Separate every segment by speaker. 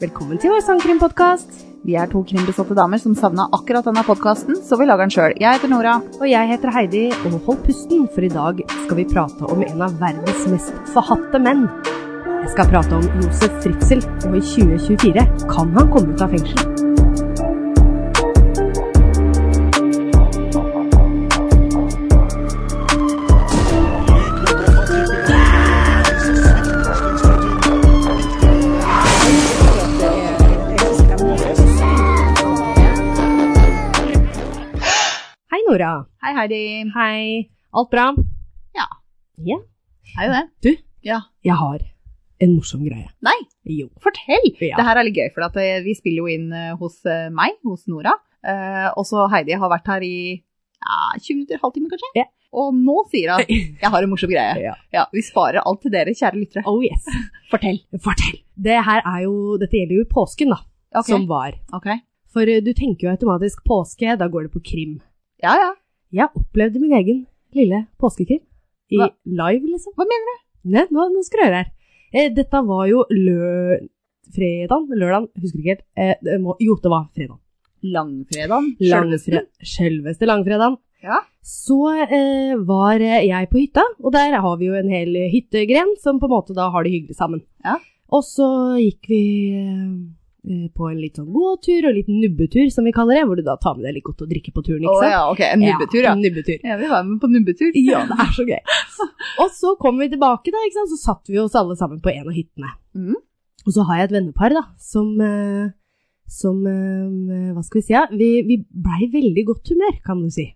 Speaker 1: Velkommen til vår sangkrimpodkast.
Speaker 2: Vi er to krimbesatte damer som savna akkurat denne podkasten, så vi lager den sjøl. Jeg heter Nora.
Speaker 1: Og jeg heter Heidi, og hold pusten, for i dag skal vi prate om en av verdens mest forhatte menn. Jeg skal prate om Josef Fritzel, og i 2024 kan han komme ut av fengsel. Hei, Nora.
Speaker 2: Hei, Heidi.
Speaker 1: Hei. Alt bra?
Speaker 2: Er jo det.
Speaker 1: Du?
Speaker 2: Ja.
Speaker 1: Jeg har en morsom greie.
Speaker 2: Nei,
Speaker 1: Jo.
Speaker 2: fortell!
Speaker 1: Ja.
Speaker 2: Det her er litt gøy, for at eh, vi spiller jo inn eh, hos eh, meg, hos Nora. Eh, og så Heidi har vært her i ja, 20 minutter, halvtime kanskje.
Speaker 1: Ja.
Speaker 2: Og nå sier hun at jeg har en morsom greie.
Speaker 1: Ja.
Speaker 2: vi sparer alt til dere, kjære lyttere.
Speaker 1: Oh yes.
Speaker 2: Fortell.
Speaker 1: Fortell. Det her er jo, dette gjelder jo påsken, da,
Speaker 2: Ok.
Speaker 1: som var.
Speaker 2: Ok.
Speaker 1: For eh, du tenker jo automatisk påske, da går det på krim.
Speaker 2: Ja, ja.
Speaker 1: Jeg opplevde min egen lille påskekrim. I
Speaker 2: Hva-
Speaker 1: live, liksom.
Speaker 2: Hva mener
Speaker 1: du? Nei, nå, nå skal du høre her. Eh, dette var jo lø... Fredagen? Lørdagen? Husker ikke helt. Eh, det må... Jo, det var fredagen.
Speaker 2: Langfredagen.
Speaker 1: Langfre- Selveste langfredagen.
Speaker 2: Ja.
Speaker 1: Så eh, var eh, jeg på hytta, og der har vi jo en hel hyttegren som på en måte da har det hyggelig sammen.
Speaker 2: Ja.
Speaker 1: Og så gikk vi eh, på en litt sånn gåtur og en liten nubbetur, som vi kaller det, hvor du da tar med deg litt godt å drikke på turen,
Speaker 2: Å
Speaker 1: ikke sant?
Speaker 2: ja, ok. En nubbetur, ja.
Speaker 1: En nubbetur.
Speaker 2: Ja, vi var med på nubbetur.
Speaker 1: Ja, det er så gøy. Og så kom vi tilbake, da, ikke sant? så satt vi oss alle sammen på en av hyttene.
Speaker 2: Mhm.
Speaker 1: Og så har jeg et vennepar da, som, eh, som eh, Hva skal vi si? Ja? Vi, vi blei i veldig godt humør, kan du si.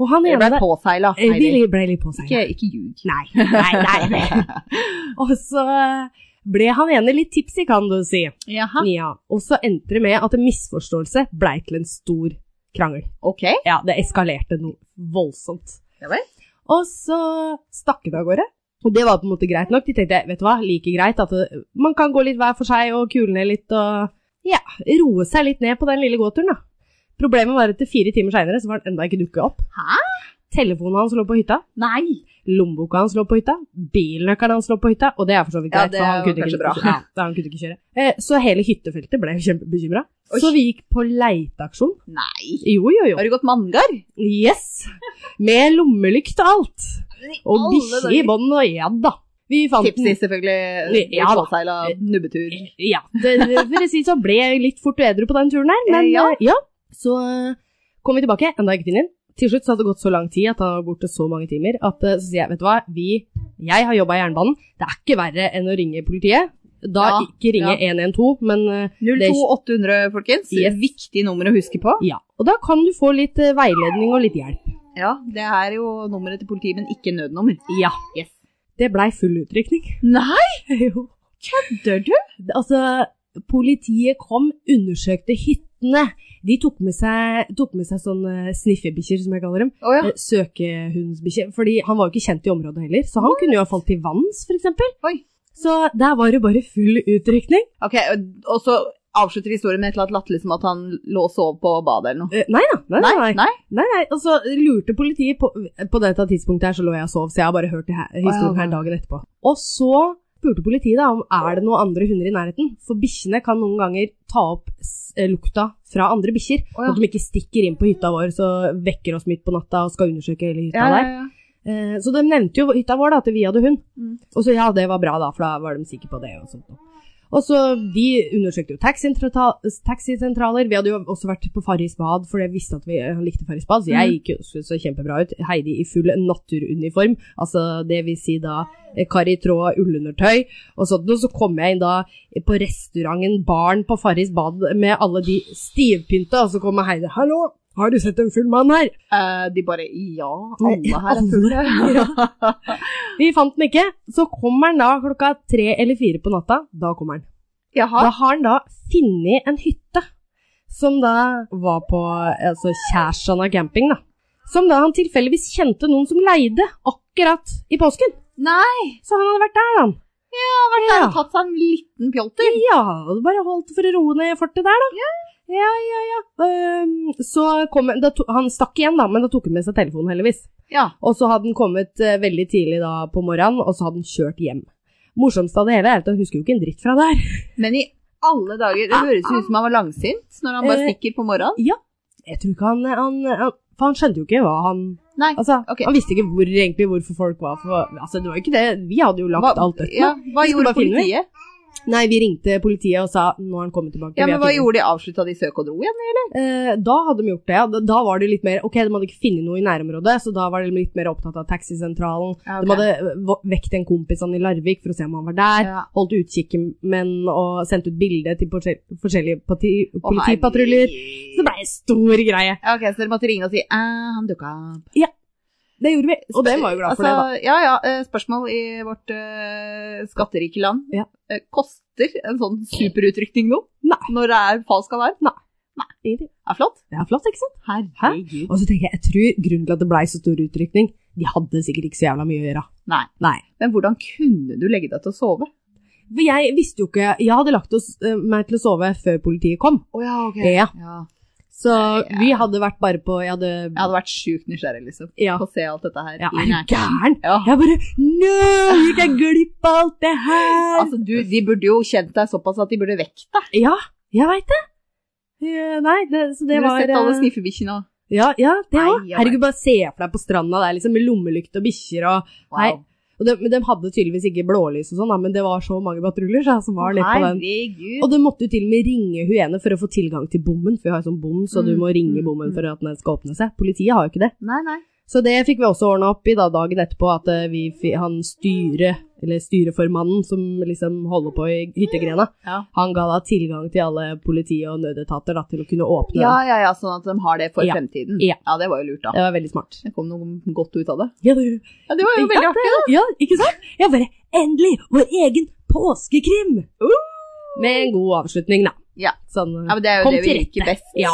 Speaker 1: Og han
Speaker 2: Vi
Speaker 1: ene
Speaker 2: ble
Speaker 1: der
Speaker 2: påseila,
Speaker 1: eh, Vi
Speaker 2: Heidi.
Speaker 1: li- blei litt på seg.
Speaker 2: Ikke, ikke ljug.
Speaker 1: Nei, nei, nei. nei. Og så eh, ble han ene litt tipsy, kan du si.
Speaker 2: Jaha.
Speaker 1: Ja. Og så endte det med at en misforståelse blei til en stor krangel.
Speaker 2: Ok.
Speaker 1: Ja, det eskalerte noe voldsomt.
Speaker 2: Ja vel.
Speaker 1: Og så stakk hun av gårde. Og det var på en måte greit nok. De tenkte, vet du hva, like greit at det, man kan gå litt hver for seg og kule ned litt og ja, roe seg litt ned på den lille gåturen, da. Problemet var at fire timer seinere så var han enda ikke dukket opp.
Speaker 2: Hæ?
Speaker 1: Telefonen hans lå på hytta,
Speaker 2: Nei.
Speaker 1: lommeboka hans lå på hytta, bilnøkkelen hans lå på hytta, og det er for så vidt
Speaker 2: Ja,
Speaker 1: greit,
Speaker 2: det
Speaker 1: for han
Speaker 2: var
Speaker 1: kunne,
Speaker 2: kanskje
Speaker 1: ikke,
Speaker 2: bra.
Speaker 1: Ja, han kunne ikke kjøre. Eh, Så hele hyttefeltet ble jo kjempebekymra.
Speaker 2: Oi.
Speaker 1: Så vi gikk på leiteaksjon.
Speaker 2: Nei.
Speaker 1: Jo, jo, jo.
Speaker 2: Har du gått manngard?
Speaker 1: Yes! Med lommelykt og alt. Og bikkje i bånd og ja da. Vi fant
Speaker 2: Tipsy,
Speaker 1: den.
Speaker 2: selvfølgelig.
Speaker 1: Ja,
Speaker 2: Ja,
Speaker 1: da.
Speaker 2: Påseila nubbetur.
Speaker 1: Ja, det, for å si så ble jeg litt fort edru på den turen her, men
Speaker 2: Eh, ja.
Speaker 1: eh, ja. Så eh, kom vi tilbake, enda ikke finner den. Til slutt så hadde det gått så lang tid at han var borte så mange timer, at eh, så sier jeg, vet du hva, vi, jeg har jobba i jernbanen, det er ikke verre enn å ringe politiet. Da
Speaker 2: Ja,
Speaker 1: ikke ringe 112, men eh,
Speaker 2: 02800, folkens.
Speaker 1: Yes.
Speaker 2: Viktig nummer å huske på.
Speaker 1: ja. Og da kan du få litt eh, veiledning og litt hjelp.
Speaker 2: Ja, det er jo nummeret til politiet, men ikke nødnummer.
Speaker 1: Ja.
Speaker 2: Yes.
Speaker 1: Det blei full utrykning.
Speaker 2: Nei,
Speaker 1: jo.
Speaker 2: dør du?
Speaker 1: Det- Altså, politiet kom, undersøkte hyttene. De tok med seg, tok med seg sånne sniffebikkjer, som jeg kaller dem.
Speaker 2: Å ja.
Speaker 1: Eh, Søkehundsbikkjer. Fordi han var jo ikke kjent i området heller, så han kunne jo ha falt til vanns, for eksempel.
Speaker 2: Oi.
Speaker 1: Så der var det bare full utrykning.
Speaker 2: Ok, og- og så avslutter historien med et eller annet latterlig som at han lå og sov på badet eller noe.
Speaker 1: Eh, Nei da. Nei, nei, nei.
Speaker 2: nei.
Speaker 1: nei, nei. Og så lurte politiet på, på dette tidspunktet her, så lå jeg og sov, så jeg har bare hørt det her, historien her dagen etterpå. Og så spurte politiet da om er det noen andre hunder i nærheten, for bikkjene kan noen ganger ta opp s- eh, lukta fra andre bikkjer,
Speaker 2: Å,
Speaker 1: sånn
Speaker 2: ja.
Speaker 1: at de ikke stikker inn på hytta vår, så vekker oss midt på natta og skal undersøke hele hytta
Speaker 2: Ja, ja,
Speaker 1: der.
Speaker 2: ja.
Speaker 1: Eh, Så de nevnte jo hytta vår da, at vi hadde hund.
Speaker 2: Mm.
Speaker 1: Og så ja, det var bra da, for da var de sikre på det og sånt. Og så de undersøkte jo taxisentrata- taxisentraler. Vi hadde jo også vært på Farris bad, for jeg visste at vi han likte Farris bad, så jeg
Speaker 2: Mm.
Speaker 1: gikk jo så, så kjempebra ut. Heidi i full naturuniform, altså det vil si da eh, kar i tråd, ullundertøy og sånt. Og så kom jeg inn da eh, på restauranten Barn på Farris bad med alle de stivpynta, og så kommer Heidi. Hallo, har du sett en full mann her?
Speaker 2: Eh, de bare Ja, alle her er
Speaker 1: Alle.
Speaker 2: fulle.
Speaker 1: Vi fant den ikke. Så kommer han da klokka tre eller fire på natta. Da kommer han.
Speaker 2: Jaha.
Speaker 1: Da har han da funnet en hytte som da var på altså Kjærsana camping, da. Som da han tilfeldigvis kjente noen som leide akkurat i påsken.
Speaker 2: Nei,
Speaker 1: Så han hadde vært der, da. han.
Speaker 2: han har vært der og
Speaker 1: Ja.
Speaker 2: tatt seg en liten pjolter.
Speaker 1: Ja, og bare holdt for å roe ned fortet der, da. Ja, ja, ja. Ehm, så kom da to, Han stakk igjen, da, men da tok han med seg telefonen, heldigvis.
Speaker 2: Ja.
Speaker 1: Og så hadde han kommet eh, veldig tidlig da på morgenen, og så hadde han kjørt hjem. Morsomst av det hele er at han husker jo ikke en dritt fra der.
Speaker 2: Men i alle dager. Det høres jo ut som han var langsint når han bare
Speaker 1: Eh,
Speaker 2: stikker på morgenen.
Speaker 1: Jeg tror ikke han, han, han For han skjønte jo ikke hva han
Speaker 2: Nei.
Speaker 1: Altså,
Speaker 2: Ok.
Speaker 1: Han visste ikke hvor, egentlig hvorfor folk var for, Altså, det var jo ikke det. Vi hadde jo lagt
Speaker 2: Hva,
Speaker 1: alt dødt.
Speaker 2: ja, hva
Speaker 1: Vi skulle
Speaker 2: gjorde
Speaker 1: bare finne
Speaker 2: politiet?
Speaker 1: Nei, vi ringte politiet og sa nå har han kommet tilbake.
Speaker 2: Ja,
Speaker 1: vi
Speaker 2: men
Speaker 1: har
Speaker 2: Hva
Speaker 1: funnet
Speaker 2: gjorde de? Avslutta de søk og dro igjen?
Speaker 1: Eh, da hadde de gjort det. ja. Da- Da var det litt mer Ok, de hadde ikke funnet noe i nærområdet, så da var de litt mer opptatt av taxisentralen.
Speaker 2: Ja,
Speaker 1: De hadde eh, v- vekt en kompis han i Larvik for å se om han var der.
Speaker 2: Ja.
Speaker 1: Holdt utkikken men og sendt ut bilde til porse- forskjellige parti politipatruljer. Så det ble en stor greie.
Speaker 2: Ja, ok, Så dere måtte ringe og si «Eh, han dukka opp.
Speaker 1: Det gjorde vi, og det var jo glad for det, da.
Speaker 2: Altså, Ja, ja. eh, Spørsmål i vårt eh, skatterike land.
Speaker 1: Ja.
Speaker 2: Eh, koster en sånn superutrykning noe?
Speaker 1: Nei.
Speaker 2: Når det er falsk alarm?
Speaker 1: Altså, Ingenting.
Speaker 2: Er flott?
Speaker 1: Det er flott, ikke sant?
Speaker 2: Herregud.
Speaker 1: Og så tenker jeg, jeg tror grunnen til at det ble så stor utrykning, de hadde sikkert ikke så jævla mye å gjøre.
Speaker 2: Nei.
Speaker 1: Nei.
Speaker 2: Men hvordan kunne du legge deg til å sove?
Speaker 1: For jeg visste jo ikke Jeg hadde lagt oss, eh, meg til å sove før politiet kom.
Speaker 2: Å ja, ok.
Speaker 1: Ja.
Speaker 2: Ja.
Speaker 1: Så vi hadde vært bare på Jeg hadde
Speaker 2: Jeg hadde vært sjukt nysgjerrig, liksom.
Speaker 1: Ja.
Speaker 2: På å se alt dette her.
Speaker 1: ja
Speaker 2: i
Speaker 1: er du
Speaker 2: nærtid.
Speaker 1: gæren?
Speaker 2: Ja.
Speaker 1: Jeg bare Nå gikk jeg glipp av alt det her!
Speaker 2: Altså, du, de burde jo kjent deg såpass at de burde vekt deg.
Speaker 1: Ja, jeg veit det. Eh, Nei, det, så det
Speaker 2: du har
Speaker 1: var
Speaker 2: sett alle
Speaker 1: eh,
Speaker 2: sniffebikkjene og
Speaker 1: Ja, ja, det
Speaker 2: Nei,
Speaker 1: òg.
Speaker 2: jeg
Speaker 1: Herregud, bare se for deg på stranda der, liksom, med lommelykt og bikkjer og Nei, og de, men de hadde tydeligvis ikke blålys og sånn, da, men det var så mange patruljer så jeg som var litt på den.
Speaker 2: Herregud.
Speaker 1: Og du måtte jo til og med ringe hun ene for å få tilgang til bommen, for vi har jo sånn bom, så du
Speaker 2: Mm,
Speaker 1: må ringe
Speaker 2: mm,
Speaker 1: bommen
Speaker 2: mm.
Speaker 1: for at den skal åpne seg. Politiet har jo ikke det.
Speaker 2: Nei, nei.
Speaker 1: Så det fikk vi også ordna opp i da, dagen etterpå, at eh, vi, fi- han styre, eller styreformannen som liksom holder på i hyttegrena,
Speaker 2: Ja.
Speaker 1: han ga da tilgang til alle politi og nødetater da, til å kunne åpne
Speaker 2: Ja,
Speaker 1: den.
Speaker 2: ja, ja, sånn at de har det for
Speaker 1: Ja.
Speaker 2: fremtiden.
Speaker 1: Ja.
Speaker 2: det var jo lurt, da.
Speaker 1: Det var veldig smart.
Speaker 2: Det kom noe godt ut av det.
Speaker 1: Ja, det,
Speaker 2: Ja, Det var jo
Speaker 1: Ja,
Speaker 2: veldig artig.
Speaker 1: det- ja, ikke sant? Jeg bare Endelig! Vår egen påskekrim! Med en god avslutning, da.
Speaker 2: Uh! Ja.
Speaker 1: Sånn
Speaker 2: Ja, men Det er jo
Speaker 1: Kom
Speaker 2: det vi
Speaker 1: til
Speaker 2: liker
Speaker 1: rette.
Speaker 2: best.
Speaker 1: Ja,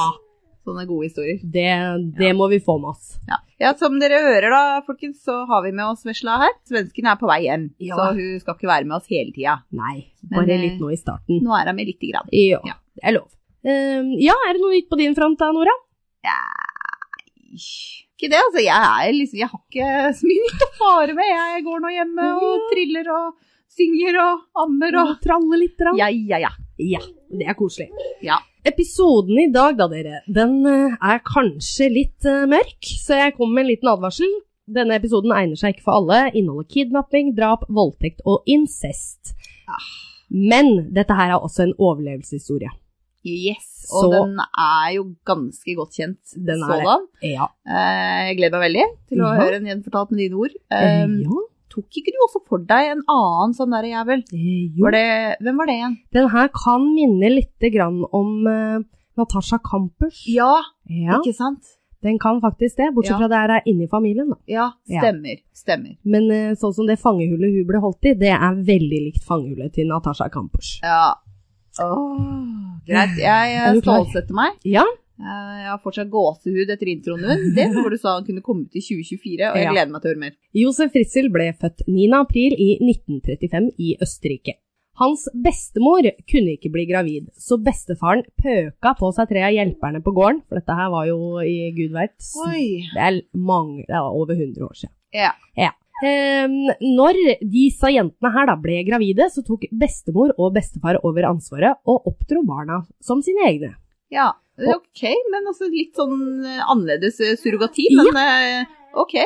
Speaker 2: Sånne gode historier.
Speaker 1: det, det må vi få med oss.
Speaker 2: Ja. ja, Som dere hører, da, folkens, så har vi med oss vesla her. Svensken er på vei hjem,
Speaker 1: Ja.
Speaker 2: så hun skal ikke være med oss hele tida.
Speaker 1: Nei,
Speaker 2: Men,
Speaker 1: bare
Speaker 2: eh,
Speaker 1: litt nå i starten.
Speaker 2: Nå er hun med lite grann.
Speaker 1: Ja,
Speaker 2: ja.
Speaker 1: det er lov. Ehm, ja, er det noe nytt på din front da, Nora?
Speaker 2: Ikke det, altså. Jeg, er liksom, jeg har ikke så mye nytt å fare med. Jeg går nå hjemme og triller og synger og ammer og
Speaker 1: Tralle litt? Rann.
Speaker 2: Ja, ja, ja.
Speaker 1: Ja, det er koselig.
Speaker 2: Ja.
Speaker 1: Episoden i dag da, dere, den eh, er kanskje litt eh, mørk, så jeg kommer med en liten advarsel. Denne episoden egner seg ikke for alle. Inneholder kidnapping, drap, voldtekt og incest.
Speaker 2: Ah.
Speaker 1: Men dette her er også en overlevelseshistorie.
Speaker 2: Yes. Og
Speaker 1: Så-
Speaker 2: den er jo ganske godt kjent
Speaker 1: Den er det.
Speaker 2: sådan.
Speaker 1: Ja.
Speaker 2: Eh, Jeg gleder meg veldig til å
Speaker 1: Ja.
Speaker 2: høre en gjenfortalt med dine ord. Eh,
Speaker 1: ja.
Speaker 2: Tok ikke du også for deg en annen sånn derre jævel?
Speaker 1: eh, jo.
Speaker 2: Var det, hvem var det igjen?
Speaker 1: Den her kan minne litt grann om eh, Natasha Campers.
Speaker 2: Ja,
Speaker 1: Ja,
Speaker 2: ikke sant?
Speaker 1: den kan faktisk det, bortsett
Speaker 2: Ja.
Speaker 1: fra det her er inni familien. Da.
Speaker 2: Ja,
Speaker 1: Ja.
Speaker 2: stemmer. Stemmer.
Speaker 1: Men eh, sånn som det fangehullet hun ble holdt i, det er veldig likt fangehullet til Natasha Campers.
Speaker 2: Ja. Åh, greit. Jeg eh,
Speaker 1: Er du klar?
Speaker 2: stålsetter meg.
Speaker 1: Ja,
Speaker 2: Eh, Jeg har fortsatt gåsehud etter introen din. Det hvor du sa han kunne komme ut i 2024, og jeg
Speaker 1: Ja.
Speaker 2: gleder meg til å høre mer.
Speaker 1: Josef Fritzl ble født 9. april i 1935 i Østerrike. Hans bestemor kunne ikke bli gravid, så bestefaren pøka på seg tre av hjelperne på gården, for dette her var jo i gud veit
Speaker 2: Oi.
Speaker 1: Det er mange, det er over 100 år siden.
Speaker 2: Ja.
Speaker 1: Ehm, når disse jentene her da ble gravide, så tok bestemor og bestefar over ansvaret og oppdro barna som sine egne.
Speaker 2: Ja, det er ok, men altså litt sånn eh, annerledes eh, surrogati, men eh, ok.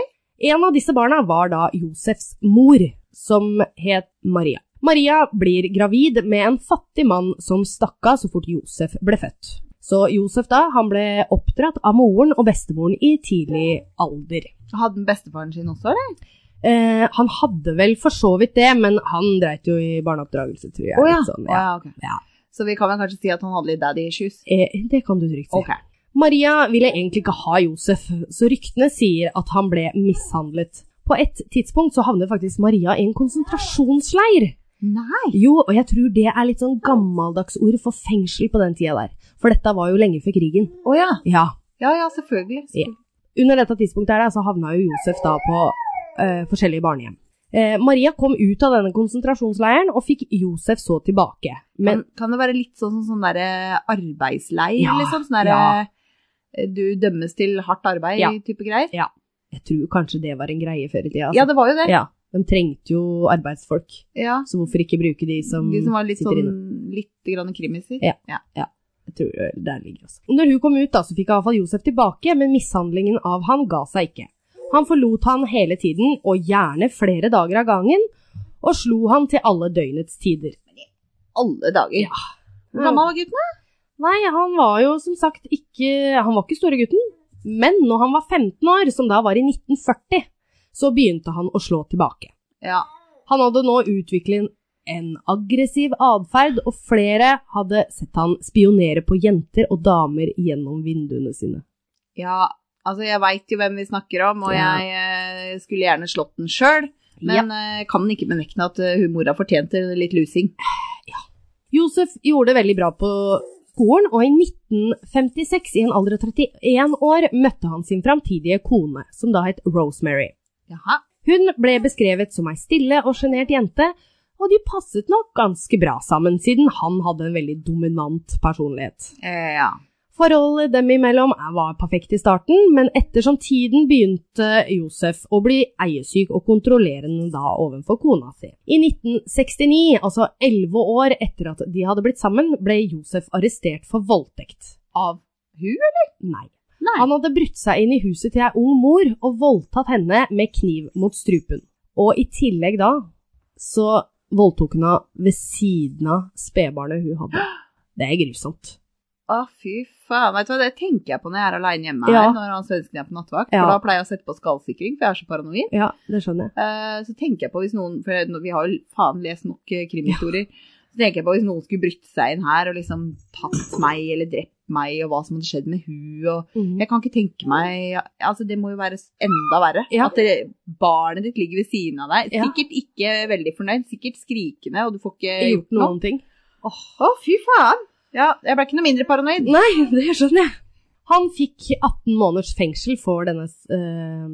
Speaker 1: En av disse barna var da Josefs mor, som het Maria. Maria blir gravid med en fattig mann som stakk av så fort Josef ble født. Så Josef da, han ble oppdratt av moren og bestemoren i tidlig alder.
Speaker 2: Hadde den bestefaren sin også, eller?
Speaker 1: Eh, han hadde vel for så vidt det, men han dreit jo i barneoppdragelse, tror jeg.
Speaker 2: Å ja.
Speaker 1: Litt Sånn, ja.
Speaker 2: Å ja, ok.
Speaker 1: Ja.
Speaker 2: Så vi kan vel kanskje si at han hadde litt daddy issues?
Speaker 1: Eh, det kan du trygt si.
Speaker 2: Ok.
Speaker 1: Maria ville egentlig ikke ha Josef, så ryktene sier at han ble mishandlet. På et tidspunkt så havner faktisk Maria i en konsentrasjonsleir.
Speaker 2: Nei!
Speaker 1: Jo, og jeg tror det er litt sånn gammeldags ord for fengsel på den tida der. For dette var jo lenge før krigen.
Speaker 2: Å ja.
Speaker 1: Ja.
Speaker 2: Ja, ja, selvfølgelig.
Speaker 1: Ja. Under dette tidspunktet her da, så havna jo Josef da på eh, forskjellige barnehjem. Eh, Maria kom ut av denne konsentrasjonsleiren og fikk Josef så tilbake. Men
Speaker 2: Men kan det være litt sånn, sånn, sånn derre arbeidsleir,
Speaker 1: Ja,
Speaker 2: liksom? Sånn derre
Speaker 1: ja.
Speaker 2: Du dømmes til hardt arbeid,
Speaker 1: Ja.
Speaker 2: type greier?
Speaker 1: jeg tror kanskje det var en greie før i tida.
Speaker 2: Ja,
Speaker 1: Altså.
Speaker 2: det var jo det.
Speaker 1: Ja, de trengte jo arbeidsfolk,
Speaker 2: Ja.
Speaker 1: så hvorfor ikke bruke de som,
Speaker 2: De som var litt
Speaker 1: sitter
Speaker 2: sånn
Speaker 1: inne?
Speaker 2: litt grann krimisser.
Speaker 1: Ja. Jeg tror eh, der ligger også. Når hun kom ut, da, så fikk hun iallfall Josef tilbake, men mishandlingen av han ga seg ikke. Han forlot han hele tiden, og gjerne flere dager av gangen, og slo han til alle døgnets tider.
Speaker 2: Alle dager.
Speaker 1: Ja.
Speaker 2: Hvor gammel var gutten? da?
Speaker 1: Nei, han var jo som sagt ikke Han var ikke store gutten, men når han var 15 år, som da var i 1940, så begynte han å slå tilbake.
Speaker 2: Ja.
Speaker 1: Han hadde nå utviklet en aggressiv atferd, og flere hadde sett han spionere på jenter og damer gjennom vinduene sine.
Speaker 2: ja. Altså, jeg veit jo hvem vi snakker om, og
Speaker 1: Ja.
Speaker 2: jeg eh, skulle gjerne slått den sjøl.
Speaker 1: Ja.
Speaker 2: Men eh, kan ikke benekte at eh, hun mora fortjente litt lusing.
Speaker 1: Josef gjorde det veldig bra på skolen, og i 1956, i en alder av 31 år, møtte han sin framtidige kone, som da het Rosemary.
Speaker 2: Jaha.
Speaker 1: Hun ble beskrevet som ei stille og sjenert jente, og de passet nok ganske bra sammen, siden han hadde en veldig dominant personlighet.
Speaker 2: Eh, ja.
Speaker 1: Forholdet dem imellom var perfekt i starten, men ettersom tiden begynte Josef å bli eiesyk og kontrollerende da overfor kona si. I 1969, altså elleve år etter at de hadde blitt sammen, ble Josef arrestert for voldtekt.
Speaker 2: Av hun?
Speaker 1: Nei.
Speaker 2: Nei.
Speaker 1: Han hadde brutt seg inn i huset til ei ung mor og voldtatt henne med kniv mot strupen. Og i tillegg da, så voldtok hun henne ved siden av spedbarnet hun hadde. Det er grusomt.
Speaker 2: Å, fy faen. Vet du hva, det tenker jeg på når jeg er aleine hjemme
Speaker 1: Ja.
Speaker 2: her, når han svensken er på nattevakt.
Speaker 1: Ja.
Speaker 2: For da pleier jeg å sette på skallsikring, for jeg er så paranoid.
Speaker 1: Ja, det skjønner jeg.
Speaker 2: Eh, så tenker jeg på hvis noen For nå- vi har jo faen lest nok eh, krimhistorier. Så tenker jeg på hvis noen skulle brytt seg inn her og liksom tatt meg eller drept meg, og hva som hadde skjedd med hun og
Speaker 1: Mhm.
Speaker 2: Jeg kan ikke tenke meg ja, Altså, det må jo være s- enda verre.
Speaker 1: Ja.
Speaker 2: At det, barnet ditt ligger ved siden av deg.
Speaker 1: Ja.
Speaker 2: Sikkert ikke veldig fornøyd, sikkert skrikende, og du får ikke
Speaker 1: gjort
Speaker 2: gjort noe.
Speaker 1: noen ting.
Speaker 2: Åh, å, fy faen! Ja, jeg ble ikke noe mindre paranoid.
Speaker 1: Nei, det skjønner jeg. Han fikk 18 måneders fengsel for denne eh,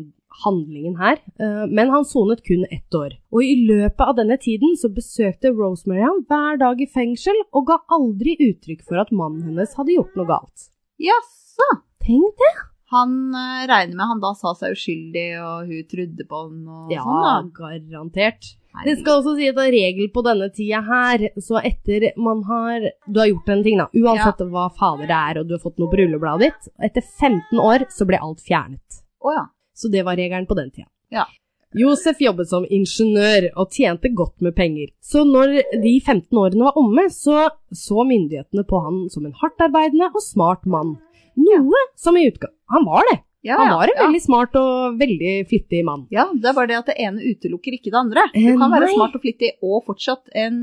Speaker 1: handlingen her, eh, men han sonet kun ett år. Og i løpet av denne tiden så besøkte Rosemary ham hver dag i fengsel og ga aldri uttrykk for at mannen hennes hadde gjort noe galt.
Speaker 2: Jaså.
Speaker 1: Tenk det!
Speaker 2: Han eh, regner med han da sa seg uskyldig, og hun trodde på han og
Speaker 1: Ja,
Speaker 2: sånn,
Speaker 1: garantert.
Speaker 2: da.
Speaker 1: Det skal også si at det er regel på denne tida her, så etter man har Du har gjort en ting, da. Uansett hva fader det er, og du har fått noe på rullebladet ditt. Etter 15 år så ble alt fjernet.
Speaker 2: Å ja.
Speaker 1: Så det var regelen på den tida.
Speaker 2: Ja.
Speaker 1: Josef jobbet som ingeniør og tjente godt med penger. Så når de 15 årene var omme, så så myndighetene på han som en hardtarbeidende og smart mann. Noe som i utgang... Han var det!
Speaker 2: Ja,
Speaker 1: Han
Speaker 2: ja,
Speaker 1: var en
Speaker 2: ja.
Speaker 1: veldig smart og veldig flittig mann.
Speaker 2: Ja, det er bare det at det ene utelukker ikke det andre. Du
Speaker 1: Eh,
Speaker 2: kan være
Speaker 1: nei.
Speaker 2: smart og flittig og fortsatt en,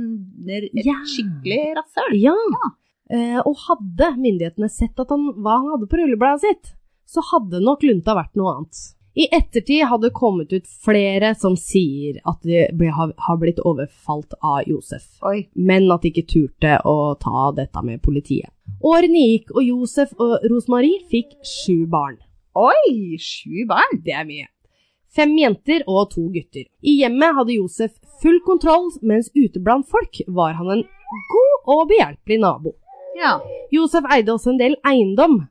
Speaker 2: et
Speaker 1: Ja.
Speaker 2: skikkelig rasshøl.
Speaker 1: Ja.
Speaker 2: Ja.
Speaker 1: Eh, og hadde myndighetene sett at han, hva han hadde på rullebladet sitt, så hadde nok lunta vært noe annet. I ettertid hadde det kommet ut flere som sier at de ble, har, har blitt overfalt av Josef.
Speaker 2: Oi.
Speaker 1: men at de ikke turte å ta dette med politiet. Årene gikk, og Josef og Rosmarie fikk sju barn.
Speaker 2: Oi, sju barn!
Speaker 1: Det er mye. Fem jenter og to gutter. I hjemmet hadde Josef full kontroll, mens ute blant folk var han en god og behjelpelig nabo.
Speaker 2: Ja.
Speaker 1: Josef eide også en del eiendom,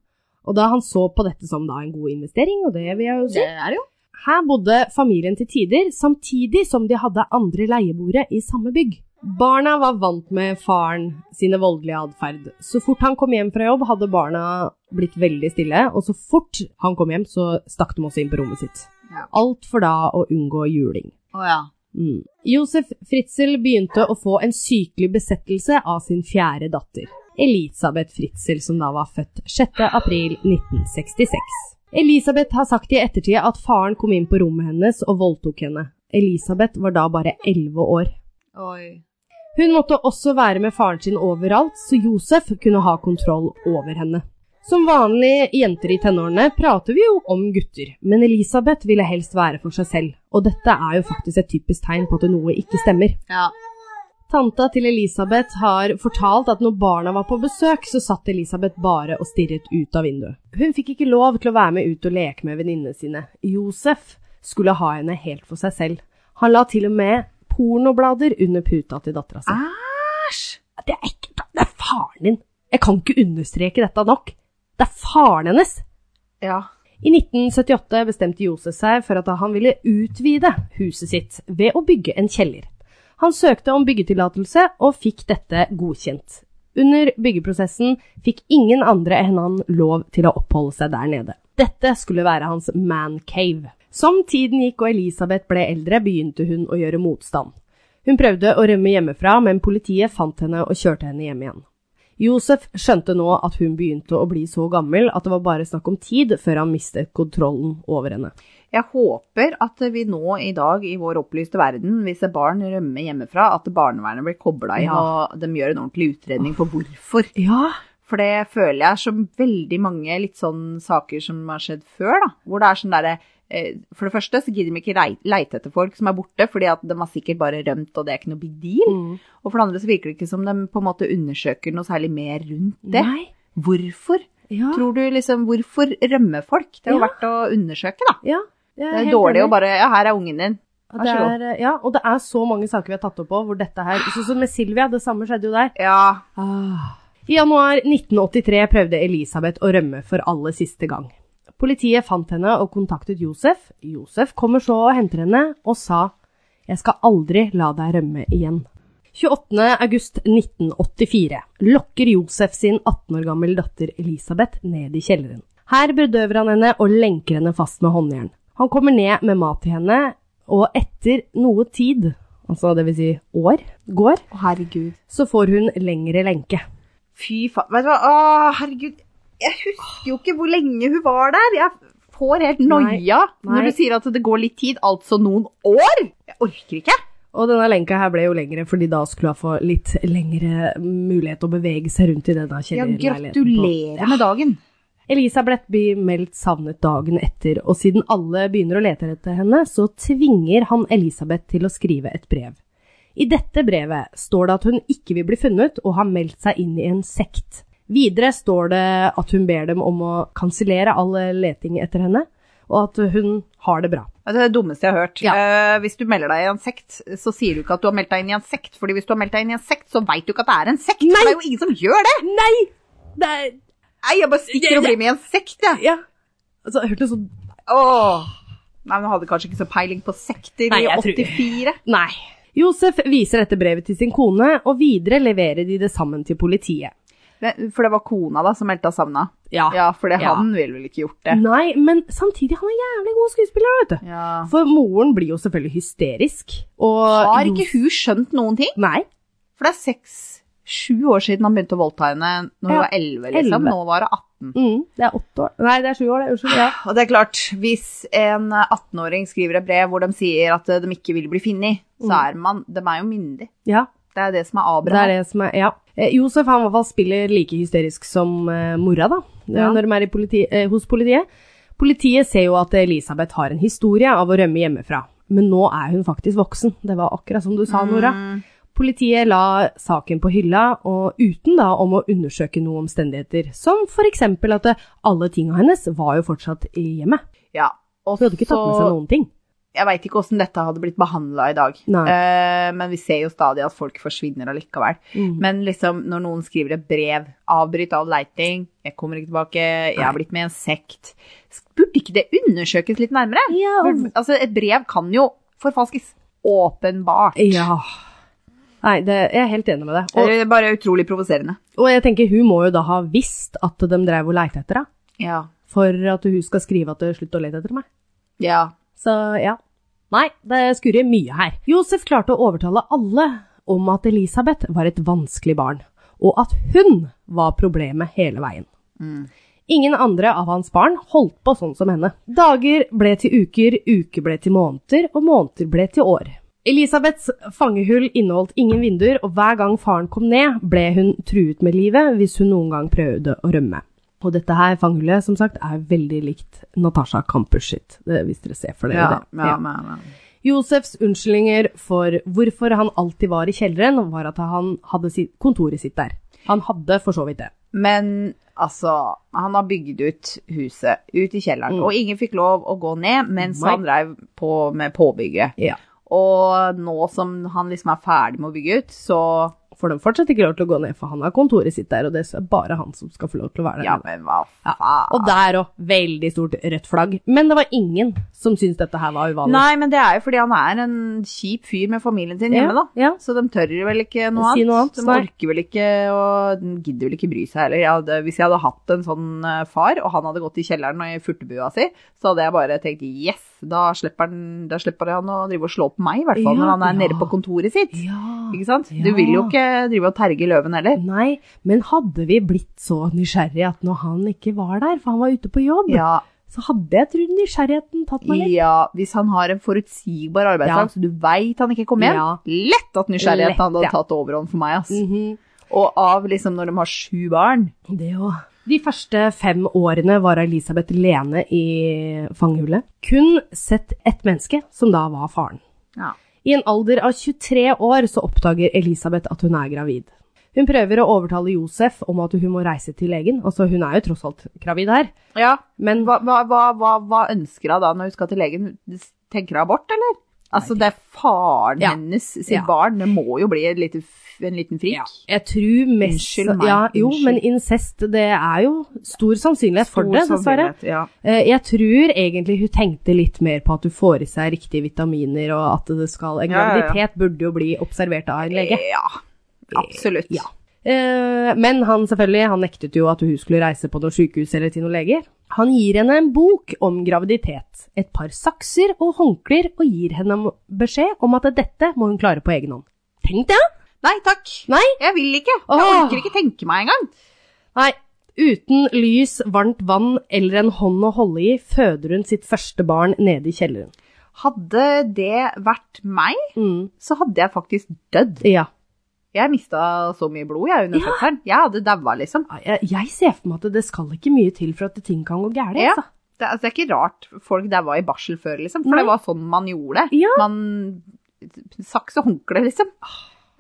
Speaker 1: og da han så på dette som da en god investering, og det vil jeg jo si,
Speaker 2: Det er jo.
Speaker 1: her bodde familien til tider, samtidig som de hadde andre leieboere i samme bygg. Barna var vant med faren sine voldelige atferd. Så fort han kom hjem fra jobb, hadde barna blitt veldig stille, og så fort han kom hjem, så stakk de også inn på rommet sitt.
Speaker 2: Ja.
Speaker 1: Alt for da å unngå juling.
Speaker 2: Å ja.
Speaker 1: Mm. Josef Fritzel begynte å få en sykelig besettelse av sin fjerde datter, Elisabeth Fritzel, som da var født 6. april 1966. Elisabeth har sagt i ettertid at faren kom inn på rommet hennes og voldtok henne. Elisabeth var da bare 11 år.
Speaker 2: Oi.
Speaker 1: Hun måtte også være med faren sin overalt, så Josef kunne ha kontroll over henne. Som vanlige jenter i tenårene prater vi jo om gutter, men Elisabeth ville helst være for seg selv, og dette er jo faktisk et typisk tegn på at noe ikke stemmer.
Speaker 2: Ja.
Speaker 1: Tanta til Elisabeth har fortalt at når barna var på besøk, så satt Elisabeth bare og stirret ut av vinduet. Hun fikk ikke lov til å være med ut og leke med venninnene sine. Josef skulle ha henne helt for seg selv. Han la til og med pornoblader under puta til dattera si.
Speaker 2: Æsj!
Speaker 1: Det er ikke Det er faren din! Jeg kan ikke understreke dette nok. Det er faren hennes!
Speaker 2: Ja.
Speaker 1: I 1978 bestemte Josef seg for at han ville utvide huset sitt ved å bygge en kjeller. Han søkte om byggetillatelse og fikk dette godkjent. Under byggeprosessen fikk ingen andre enn han lov til å oppholde seg der nede. Dette skulle være hans man cave. Som tiden gikk og Elisabeth ble eldre, begynte hun å gjøre motstand. Hun prøvde å rømme hjemmefra, men politiet fant henne og kjørte henne hjem igjen. Josef skjønte nå at hun begynte å bli så gammel at det var bare snakk om tid før han mistet kontrollen over henne.
Speaker 2: Jeg håper at vi nå i dag i vår opplyste verden, hvis et barn rømmer hjemmefra, at barnevernet blir kobla inn
Speaker 1: Ja.
Speaker 2: og de gjør en ordentlig utredning på hvorfor.
Speaker 1: Ja,
Speaker 2: For det føler jeg er som veldig mange litt sånn saker som har skjedd før, da. Hvor det er sånn derre eh, For det første så gidder de ikke rei- leite etter folk som er borte, fordi at de har sikkert bare rømt, og det er ikke noe big deal.
Speaker 1: Mm.
Speaker 2: Og for det andre så virker det ikke som de på en måte undersøker noe særlig mer rundt det.
Speaker 1: Nei.
Speaker 2: Hvorfor?
Speaker 1: Ja.
Speaker 2: Tror du liksom Hvorfor rømmer folk? Det er jo
Speaker 1: Ja.
Speaker 2: verdt å undersøke, da.
Speaker 1: ja. jeg
Speaker 2: Det er
Speaker 1: helt
Speaker 2: dårlig
Speaker 1: enig.
Speaker 2: å bare Ja, her er ungen din.
Speaker 1: Ja,
Speaker 2: Vær så god. Ah.
Speaker 1: Det er, ja, og det er så mange saker vi har tatt opp på hvor dette her Sånn som med Silvia, det samme skjedde jo der.
Speaker 2: Ja.
Speaker 1: Ah. I januar 1983 prøvde Elisabeth å rømme for aller siste gang. Politiet fant henne og kontaktet Josef. Josef kommer så og henter henne og sa Jeg skal aldri la deg rømme igjen. 28. august 1984 lokker Josef sin 18 år gammel datter Elisabeth ned i kjelleren. Her bedøver han henne og lenker henne fast med håndjern. Han kommer ned med mat til henne, og etter noe tid, altså det vil si år, går,
Speaker 2: Å, herregud.
Speaker 1: så får hun lengre lenke.
Speaker 2: Fy faen. Vet du hva, å, herregud. Jeg husker jo ikke hvor lenge hun var der. Jeg får helt noia
Speaker 1: Nei.
Speaker 2: når du sier at det går litt tid, altså noen år. Jeg orker ikke.
Speaker 1: Og denne lenka her ble jo lengre, fordi da skulle hun få litt lengre mulighet å bevege seg rundt i denne
Speaker 2: Ja,
Speaker 1: kjellerleiligheten.
Speaker 2: gratulerer med dagen.
Speaker 1: Elisabeth blir meldt savnet dagen etter, og siden alle begynner å lete etter henne, så tvinger han Elisabeth til å skrive et brev. I dette brevet står det at hun ikke vil bli funnet, og har meldt seg inn i en sekt. Videre står det at hun ber dem om å kansellere all leting etter henne, og at hun har det bra.
Speaker 2: Det er det dummeste jeg har hørt.
Speaker 1: Ja.
Speaker 2: Eh, hvis du melder deg i en sekt, så sier du ikke at du har meldt deg inn i en sekt. fordi hvis du har meldt deg inn i en sekt, så veit du ikke at det er en sekt.
Speaker 1: Nei.
Speaker 2: For det er jo ingen som gjør det.
Speaker 1: Nei! Det er
Speaker 2: Nei, jeg bare stikker og blir med i en sekt, jeg.
Speaker 1: Ja. Altså, jeg hørte sånn
Speaker 2: Åh. Nei, men jeg hadde kanskje ikke så peiling på sekter
Speaker 1: Nei,
Speaker 2: i
Speaker 1: jeg tror-
Speaker 2: 84.
Speaker 1: Nei. Josef viser dette brevet til sin kone, og videre leverer de det sammen til politiet.
Speaker 2: Men- For det var kona da som meldte av savna.
Speaker 1: Ja.
Speaker 2: Ja, for det,
Speaker 1: Ah, Ja.
Speaker 2: han ville vel ikke gjort det.
Speaker 1: Nei, men samtidig, han er jævlig god skuespiller, vet du.
Speaker 2: Ja.
Speaker 1: For moren blir jo selvfølgelig hysterisk, og
Speaker 2: Har ikke hun skjønt noen ting?
Speaker 1: Nei.
Speaker 2: For det er seks-sju år siden han begynte å voldta henne når hun
Speaker 1: Ja,
Speaker 2: var elleve,
Speaker 1: 11.
Speaker 2: liksom. Nå var hun 18.
Speaker 1: Mm, det er åtte år Nei, det er sju år, det. Unnskyld. Ja.
Speaker 2: Og det er klart, hvis en 18-åring skriver et brev hvor de sier at eh, de ikke vil bli funnet, så er man De er jo myndig.
Speaker 1: ja.
Speaker 2: Det er det som er
Speaker 1: Mm. Det
Speaker 2: Abraham.
Speaker 1: er det som er Ja. Eh, Josef han i hvert fall spiller like hysterisk som eh, mora, da, eh,
Speaker 2: Ja.
Speaker 1: når de er i politi eh, hos politiet. Politiet ser jo at Elisabeth har en historie av å rømme hjemmefra, men nå er hun faktisk voksen. Det var akkurat som du
Speaker 2: Mm.
Speaker 1: sa, Nora. Politiet la saken på hylla, og uten da om å undersøke noen omstendigheter, som for eksempel at eh, alle tinga hennes var jo fortsatt i hjemmet.
Speaker 2: Ja. Og
Speaker 1: Hun hadde ikke tatt med seg noen ting.
Speaker 2: Jeg veit ikke åssen dette hadde blitt behandla i dag,
Speaker 1: Nei.
Speaker 2: Eh, men vi ser jo stadig at folk forsvinner allikevel.
Speaker 1: Mm.
Speaker 2: Men liksom, når noen skriver et brev, avbryt all leiting, jeg kommer ikke tilbake, jeg har blitt med i en sekt, burde ikke det undersøkes litt nærmere?
Speaker 1: Ja,
Speaker 2: Burde- Altså, et brev kan jo forfalskes. Åpenbart.
Speaker 1: ja. Nei, det, jeg er helt enig med deg.
Speaker 2: Det
Speaker 1: Og,
Speaker 2: er bare utrolig provoserende.
Speaker 1: og jeg tenker hun må jo da ha visst at de drev og leita etter henne.
Speaker 2: Ja.
Speaker 1: for at hun skal skrive at hun slutter å lete etter meg.
Speaker 2: Ja.
Speaker 1: Så ja. Nei, det skurrer mye her. Josef klarte å overtale alle om at Elisabeth var et vanskelig barn, og at hun var problemet hele veien. Ingen andre av hans barn holdt på sånn som henne. Dager ble til uker, uker ble til måneder, og måneder ble til år. Elisabeths fangehull inneholdt ingen vinduer, og hver gang faren kom ned, ble hun truet med livet hvis hun noen gang prøvde å rømme. Og dette her fangehullet, som sagt, er veldig likt Natasha Campus sitt, det- hvis dere ser for dere
Speaker 2: Ja,
Speaker 1: det.
Speaker 2: ja, ja, ja.
Speaker 1: Josefs unnskyldninger for hvorfor han alltid var i kjelleren, var at han hadde sitt- kontoret sitt der. Han hadde for så vidt det.
Speaker 2: Men altså, han har bygd ut huset, ut i kjelleren, og ingen fikk lov å gå ned mens
Speaker 1: Nei.
Speaker 2: han drev på med påbygget.
Speaker 1: Ja.
Speaker 2: Og nå som han liksom er ferdig med å bygge ut, så
Speaker 1: får de fortsatt ikke lov til å gå ned, for han har kontoret sitt der, og det er bare han som skal få lov til å være der.
Speaker 2: Ja, men hva faen?
Speaker 1: Og der òg, veldig stort rødt flagg. Men det var ingen som syntes dette her var uvanlig.
Speaker 2: Nei, men det er jo fordi han er en kjip fyr med familien sin hjemme, da.
Speaker 1: Ja,
Speaker 2: Så de tør vel ikke noe
Speaker 1: Si
Speaker 2: annet.
Speaker 1: noe annet,
Speaker 2: De
Speaker 1: nei.
Speaker 2: orker vel ikke og de gidder vel ikke bry seg heller. Jeg hadde, hvis jeg hadde hatt en sånn eh, far, og han hadde gått i kjelleren og i furtebua si, så hadde jeg bare tenkt yes, da slipper han, da slipper han å drive og slå på meg, i hvert fall
Speaker 1: Ja,
Speaker 2: når han er
Speaker 1: ja.
Speaker 2: nede på kontoret sitt.
Speaker 1: ja.
Speaker 2: Ikke sant? Du
Speaker 1: Ja.
Speaker 2: vil jo ikke drive og terge løven heller.
Speaker 1: Nei, men hadde vi blitt så nysgjerrige at når han ikke var der, for han var ute på jobb,
Speaker 2: Ja,
Speaker 1: så hadde jeg trodd nysgjerrigheten tatt meg litt.
Speaker 2: ja, hvis han har en forutsigbar arbeidsdag,
Speaker 1: Ja.
Speaker 2: så du veit han ikke kommer hjem.
Speaker 1: Ja.
Speaker 2: Lett at
Speaker 1: Lett,
Speaker 2: nysgjerrigheten hadde
Speaker 1: ja.
Speaker 2: tatt overhånd for meg. ass.
Speaker 1: Mhm.
Speaker 2: Og av liksom når de har sju barn.
Speaker 1: Det òg. De første fem årene var Elisabeth Lene i fangehullet. Kun sett ett menneske, som da var faren.
Speaker 2: Ja.
Speaker 1: I en alder av 23 år så oppdager Elisabeth at hun er gravid. Hun prøver å overtale Josef om at hun må reise til legen, altså hun er jo tross alt gravid her, men
Speaker 2: Hva, hva, hva, hva, hva ønsker hun da når hun skal til legen? Tenker hun abort, eller? Altså, det er faren
Speaker 1: Ja.
Speaker 2: hennes sitt
Speaker 1: Ja.
Speaker 2: barn. Det må jo bli et lite, f- en liten frik.
Speaker 1: Ja, jeg tror mest
Speaker 2: Unnskyld meg,
Speaker 1: Ja, jo,
Speaker 2: unnskyld.
Speaker 1: men incest, det er jo stor sannsynlighet for det, dessverre.
Speaker 2: Ja.
Speaker 1: Eh, Jeg tror egentlig hun tenkte litt mer på at du får i seg riktige vitaminer, og at det skal En
Speaker 2: Ja, ja, ja.
Speaker 1: graviditet burde jo bli observert av en lege.
Speaker 2: ja. Absolutt.
Speaker 1: Ja. Eh, Men han selvfølgelig, han nektet jo at hun skulle reise på noe sykehus eller til noen leger. Han gir henne en bok om graviditet, et par sakser og håndklær, og gir henne beskjed om at dette må hun klare på egen hånd. Tenk det!
Speaker 2: Nei takk.
Speaker 1: Nei.
Speaker 2: Jeg vil ikke. Jeg
Speaker 1: Åh.
Speaker 2: orker ikke tenke meg engang.
Speaker 1: Nei, uten lys, varmt vann eller en hånd å holde i, føder hun sitt første barn nede i kjelleren.
Speaker 2: Hadde det vært meg,
Speaker 1: Mm.
Speaker 2: så hadde jeg faktisk dødd.
Speaker 1: Ja.
Speaker 2: Jeg mista så mye blod jeg under fødselen. Jeg hadde daua, liksom.
Speaker 1: Jeg, jeg ser for meg at det skal ikke mye til for at ting kan gå gærent.
Speaker 2: Ja.
Speaker 1: altså.
Speaker 2: Det, altså, det er ikke rart folk daua i barsel før, liksom. For
Speaker 1: Nei.
Speaker 2: det var sånn man gjorde.
Speaker 1: Ja.
Speaker 2: Man Saks og håndkle, liksom.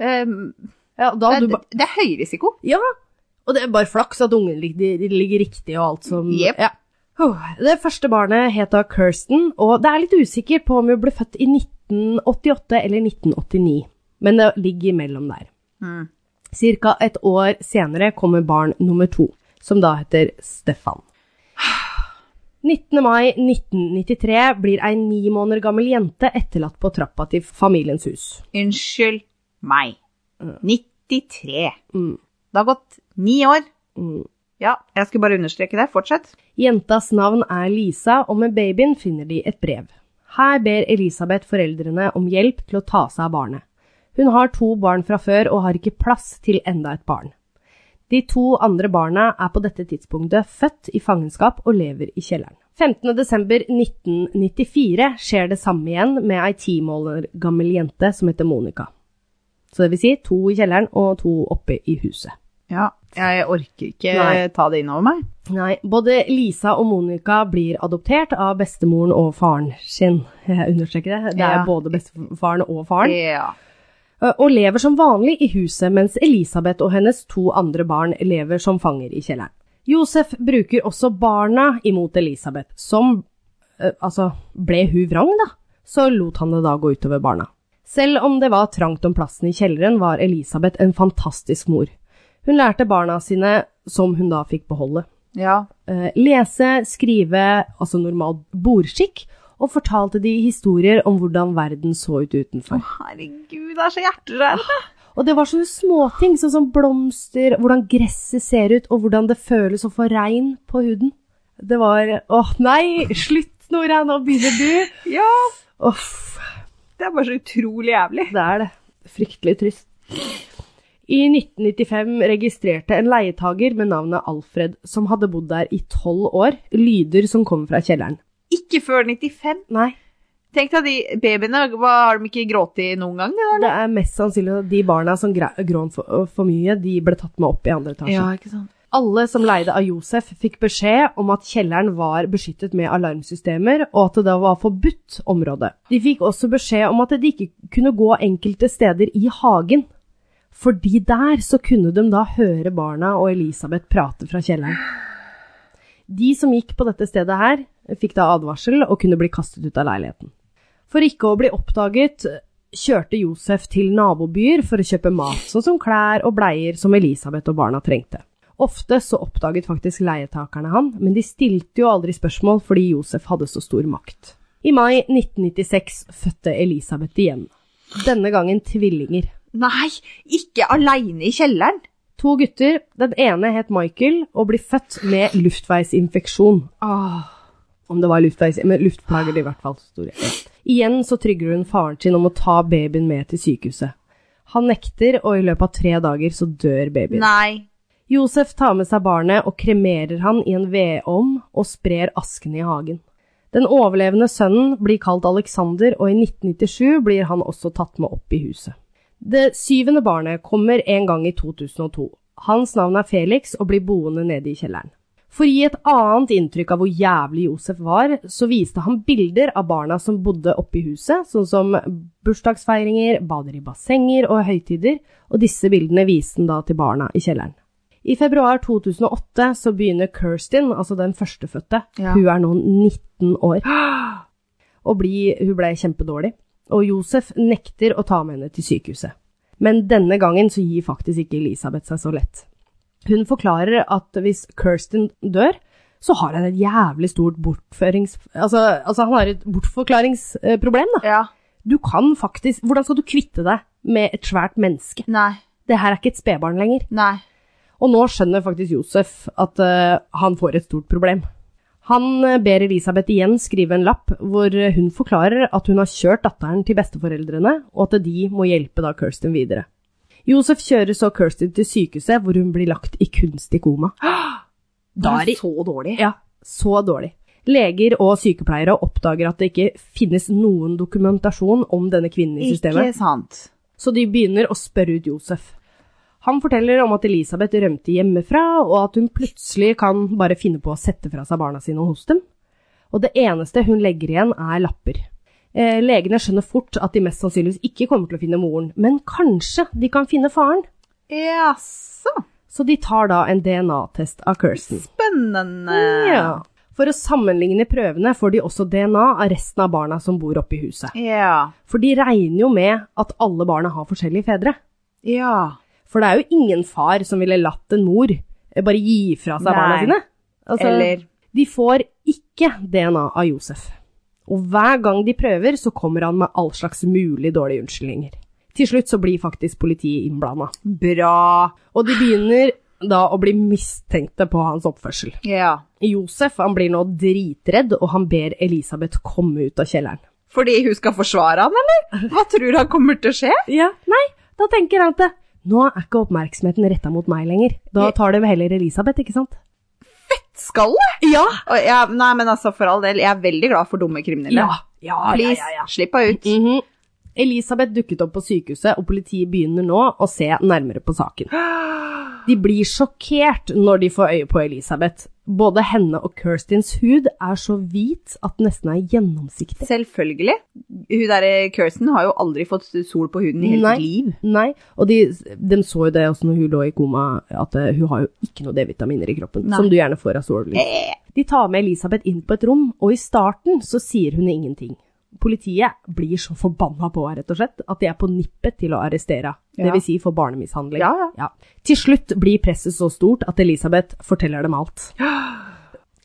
Speaker 2: Um,
Speaker 1: Ja, da
Speaker 2: det,
Speaker 1: hadde du ba
Speaker 2: det er høy risiko.
Speaker 1: ja. Og det er bare flaks at ungen ligger, de ligger riktig og alt som
Speaker 2: Jep.
Speaker 1: ja. Åh, Det første barnet het da Kirsten, og det er litt usikker på om hun ble født i 1988 eller 1989. Men det ligger imellom der.
Speaker 2: Mm.
Speaker 1: Cirka et år senere kommer barn nummer to, som da heter Stefan. 19. mai 1993 blir ei ni måneder gammel jente etterlatt på trappa til familiens hus.
Speaker 2: Unnskyld meg. 93.
Speaker 1: Mm.
Speaker 2: Det har gått ni år.
Speaker 1: Mm.
Speaker 2: Ja, jeg skulle bare understreke det. Fortsett.
Speaker 1: Jentas navn er Lisa, og med babyen finner de et brev. Her ber Elisabeth foreldrene om hjelp til å ta seg av barnet. Hun har to barn fra før og har ikke plass til enda et barn. De to andre barna er på dette tidspunktet født i fangenskap og lever i kjelleren. 15.12.1994 skjer det samme igjen med ei ti måneder gammel jente som heter Monica. Så det vil si to i kjelleren og to oppe i huset.
Speaker 2: Ja, jeg orker ikke
Speaker 1: Nei.
Speaker 2: ta det innover meg.
Speaker 1: Nei, både Lisa og Monica blir adoptert av bestemoren og faren sin. Jeg understreker det. Det er
Speaker 2: Ja.
Speaker 1: både bestefaren og faren. Eh,
Speaker 2: Ja.
Speaker 1: Og lever som vanlig i huset, mens Elisabeth og hennes to andre barn lever som fanger i kjelleren. Josef bruker også barna imot Elisabeth, som eh, Altså, ble hun vrang, da? Så lot han det da gå utover barna. Selv om det var trangt om plassen i kjelleren, var Elisabeth en fantastisk mor. Hun lærte barna sine, som hun da fikk beholde
Speaker 2: ja.
Speaker 1: eh, lese, skrive, altså normal bordskikk, og fortalte de historier om hvordan verden så ut utenfor.
Speaker 2: Herregud, det er så hjerterørende.
Speaker 1: Og det var sånne småting, sånn som blomster, hvordan gresset ser ut, og hvordan det føles å få regn på huden. Det var Åh, nei! Slutt, Nora! Nå begynner du!
Speaker 2: Ja,
Speaker 1: Uff.
Speaker 2: det er bare så utrolig jævlig.
Speaker 1: Det er det. Fryktelig trist. I 1995 registrerte en leietager med navnet Alfred, som hadde bodd der i tolv år, lyder som kom fra kjelleren.
Speaker 2: Ikke før 95.
Speaker 1: Nei,
Speaker 2: Tenk deg de babyene, hva har de ikke grått i noen gang? Det
Speaker 1: Det er mest sannsynlig at de barna som gra- grån for, for mye, de ble tatt med opp i andre etasje.
Speaker 2: ikke sant.
Speaker 1: Alle som leide av Josef fikk beskjed om at kjelleren var beskyttet med alarmsystemer, og at det da var forbudt område. De fikk også beskjed om at de ikke kunne gå enkelte steder i hagen, fordi der så kunne de da høre barna og Elisabeth prate fra kjelleren. De som gikk på dette stedet her, fikk da advarsel og kunne bli kastet ut av leiligheten. For ikke å bli oppdaget kjørte Josef til nabobyer for å kjøpe mat, sånn som klær og bleier som Elisabeth og barna trengte. Ofte så oppdaget faktisk leietakerne han, men de stilte jo aldri spørsmål fordi Josef hadde så stor makt. I mai 1996 fødte Elisabeth igjen. Denne gangen tvillinger.
Speaker 2: Nei, ikke aleine i kjelleren!
Speaker 1: To gutter, den ene het Michael og blir født med luftveisinfeksjon. Ah, om det var luftveis, men luftplager i hvert fall. Stor Igjen så trygger hun faren sin om å ta babyen med til sykehuset. Han nekter, og i løpet av tre dager så dør babyen.
Speaker 2: Nei.
Speaker 1: Josef tar med seg barnet og kremerer han i en vedovn og sprer asken i hagen. Den overlevende sønnen blir kalt Alexander, og i 1997 blir han også tatt med opp i huset. Det syvende barnet kommer en gang i 2002. Hans navn er Felix og blir boende nede i kjelleren. For å gi et annet inntrykk av hvor jævlig Josef var, så viste han bilder av barna som bodde oppe i huset, sånn som bursdagsfeiringer, bader i bassenger og høytider, og disse bildene viste han da til barna i kjelleren. I februar 2008 så begynner Kirstin, altså den førstefødte,
Speaker 2: Ja.
Speaker 1: hun er nå 19 år, og bli, hun ble kjempedårlig, og Josef nekter å ta med henne til sykehuset. Men denne gangen så gir faktisk ikke Elisabeth seg så lett. Hun forklarer at hvis Kirsten dør, så har han et jævlig stort bortførings... Altså, altså han har et bortforklaringsproblem, da.
Speaker 2: Ja.
Speaker 1: Du kan faktisk Hvordan skal du kvitte deg med et svært menneske?
Speaker 2: Nei.
Speaker 1: Det her er ikke et spedbarn lenger.
Speaker 2: Nei.
Speaker 1: Og nå skjønner faktisk Josef at eh, han får et stort problem. Han eh, ber Elisabeth igjen skrive en lapp hvor eh, hun forklarer at hun har kjørt datteren til besteforeldrene, og at de må hjelpe da Kirsten videre. Josef kjører så Kirsten til sykehuset, hvor hun blir lagt i kunstig koma. Da er det
Speaker 2: så dårlig.
Speaker 1: Ja, så dårlig. Leger og sykepleiere oppdager at det ikke finnes noen dokumentasjon om denne kvinnen i systemet.
Speaker 2: Ikke sant.
Speaker 1: Så de begynner å spørre ut Josef. Han forteller om at Elisabeth rømte hjemmefra, og at hun plutselig kan bare finne på å sette fra seg barna sine hos dem. Og det eneste hun legger igjen, er lapper. Eh, legene skjønner fort at de mest sannsynligvis ikke kommer til å finne moren, men kanskje de kan finne faren.
Speaker 2: Jaså.
Speaker 1: Så de tar da en DNA-test av Kirsten.
Speaker 2: Spennende.
Speaker 1: Ja. For å sammenligne prøvene får de også DNA av resten av barna som bor oppe i huset.
Speaker 2: Ja.
Speaker 1: For de regner jo med at alle barna har forskjellige fedre.
Speaker 2: Ja.
Speaker 1: For det er jo ingen far som ville latt en mor eh, bare gi fra seg
Speaker 2: Nei.
Speaker 1: barna sine. Altså,
Speaker 2: Eller
Speaker 1: De får ikke DNA av Josef. Og hver gang de prøver, så kommer han med all slags mulig dårlige unnskyldninger. Til slutt så blir faktisk politiet innblanda.
Speaker 2: bra.
Speaker 1: Og de begynner da å bli mistenkte på hans oppførsel.
Speaker 2: Ja.
Speaker 1: Josef han blir nå dritredd, og han ber Elisabeth komme ut av kjelleren.
Speaker 2: Fordi hun skal forsvare han, eller? Hva tror han kommer til å skje?
Speaker 1: Ja, nei, da tenker han at det- nå er ikke oppmerksomheten retta mot meg lenger. Da tar de heller Elisabeth, ikke sant?
Speaker 2: Skallet?
Speaker 1: Ja!
Speaker 2: Og jeg- Nei, men altså, for all del, jeg er veldig glad for dumme kriminelle.
Speaker 1: Ja, ja,
Speaker 2: Please, slipp henne ut.
Speaker 1: Mhm. Elisabeth dukket opp på sykehuset, og politiet begynner nå å se nærmere på saken. De blir sjokkert når de får øye på Elisabeth. Både henne og Kirstins hud er så hvit at den nesten er gjennomsiktig.
Speaker 2: Selvfølgelig. Hun derre Kirsten har jo aldri fått sol på huden i hele
Speaker 1: Nei.
Speaker 2: sitt liv.
Speaker 1: Nei, og de, de så jo det også når hun lå i koma, at eh, hun har jo ikke noe D-vitaminer i kroppen,
Speaker 2: Nei.
Speaker 1: som du gjerne får av sollys.
Speaker 2: Eh,
Speaker 1: De tar med Elisabeth inn på et rom, og i starten så sier hun ingenting. Politiet blir så forbanna på henne, rett og slett, at de er på nippet til å arrestere henne.
Speaker 2: Ja.
Speaker 1: Det vil si for barnemishandling.
Speaker 2: Ja, ja.
Speaker 1: Til slutt blir presset så stort at Elisabeth forteller dem alt.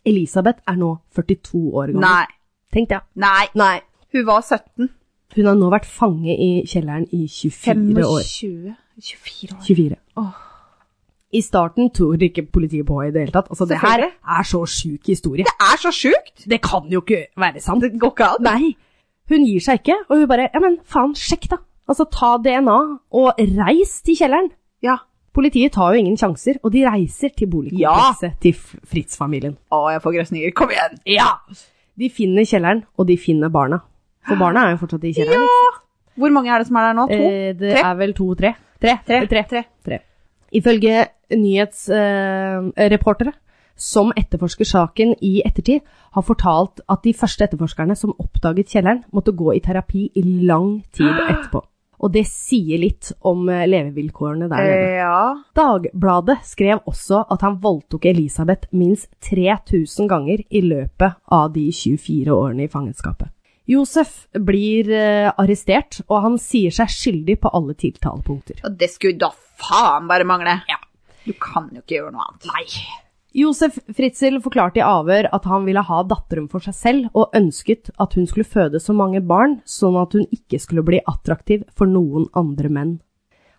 Speaker 1: Elisabeth er nå 42 år gammel.
Speaker 2: Nei.
Speaker 1: Tenk det.
Speaker 2: Nei.
Speaker 1: Nei.
Speaker 2: Hun var 17.
Speaker 1: Hun har nå vært fange i kjelleren i 24 år.
Speaker 2: 25. 24 år.
Speaker 1: 24.
Speaker 2: Åh.
Speaker 1: I starten tror ikke politiet på henne i det hele tatt. Altså, det her
Speaker 2: Selvfølgelig.
Speaker 1: er så sjuk historie.
Speaker 2: Det er så sjukt!
Speaker 1: Det kan jo ikke være sant.
Speaker 2: Det går ikke an.
Speaker 1: Nei, hun gir seg ikke, og hun bare, ja, men faen, sjekk da. Altså, ta DNA og reis til kjelleren.
Speaker 2: Ja.
Speaker 1: Politiet tar jo ingen sjanser, og de reiser til boligkomplekset til F- Fritz-familien.
Speaker 2: Å, jeg får grøsninger. Kom igjen!
Speaker 1: Ja! De finner kjelleren, og de finner barna. For barna er jo fortsatt i kjelleren.
Speaker 2: Hvor mange er det som er der nå? To?
Speaker 1: Eh, det
Speaker 2: Tre?
Speaker 1: er vel to, tre. Tre,
Speaker 2: Tre.
Speaker 1: tre.
Speaker 2: Tre.
Speaker 1: tre. Ifølge nyhetsreportere som etterforsker saken i ettertid, har fortalt at de første etterforskerne som oppdaget kjelleren, måtte gå i terapi i lang tid etterpå. Og det sier litt om eh, levevilkårene der nede.
Speaker 2: Eh, ja.
Speaker 1: Dagbladet skrev også at han voldtok Elisabeth minst 3000 ganger i løpet av de 24 årene i fangenskapet. Josef blir eh, arrestert, og han sier seg skyldig på alle tiltalepunkter.
Speaker 2: Og det skulle da faen bare mangle!
Speaker 1: Ja.
Speaker 2: Du kan jo ikke gjøre noe annet. Nei.
Speaker 1: Josef Fritzel forklarte i avhør at han ville ha datteren for seg selv, og ønsket at hun skulle føde så mange barn, sånn at hun ikke skulle bli attraktiv for noen andre menn.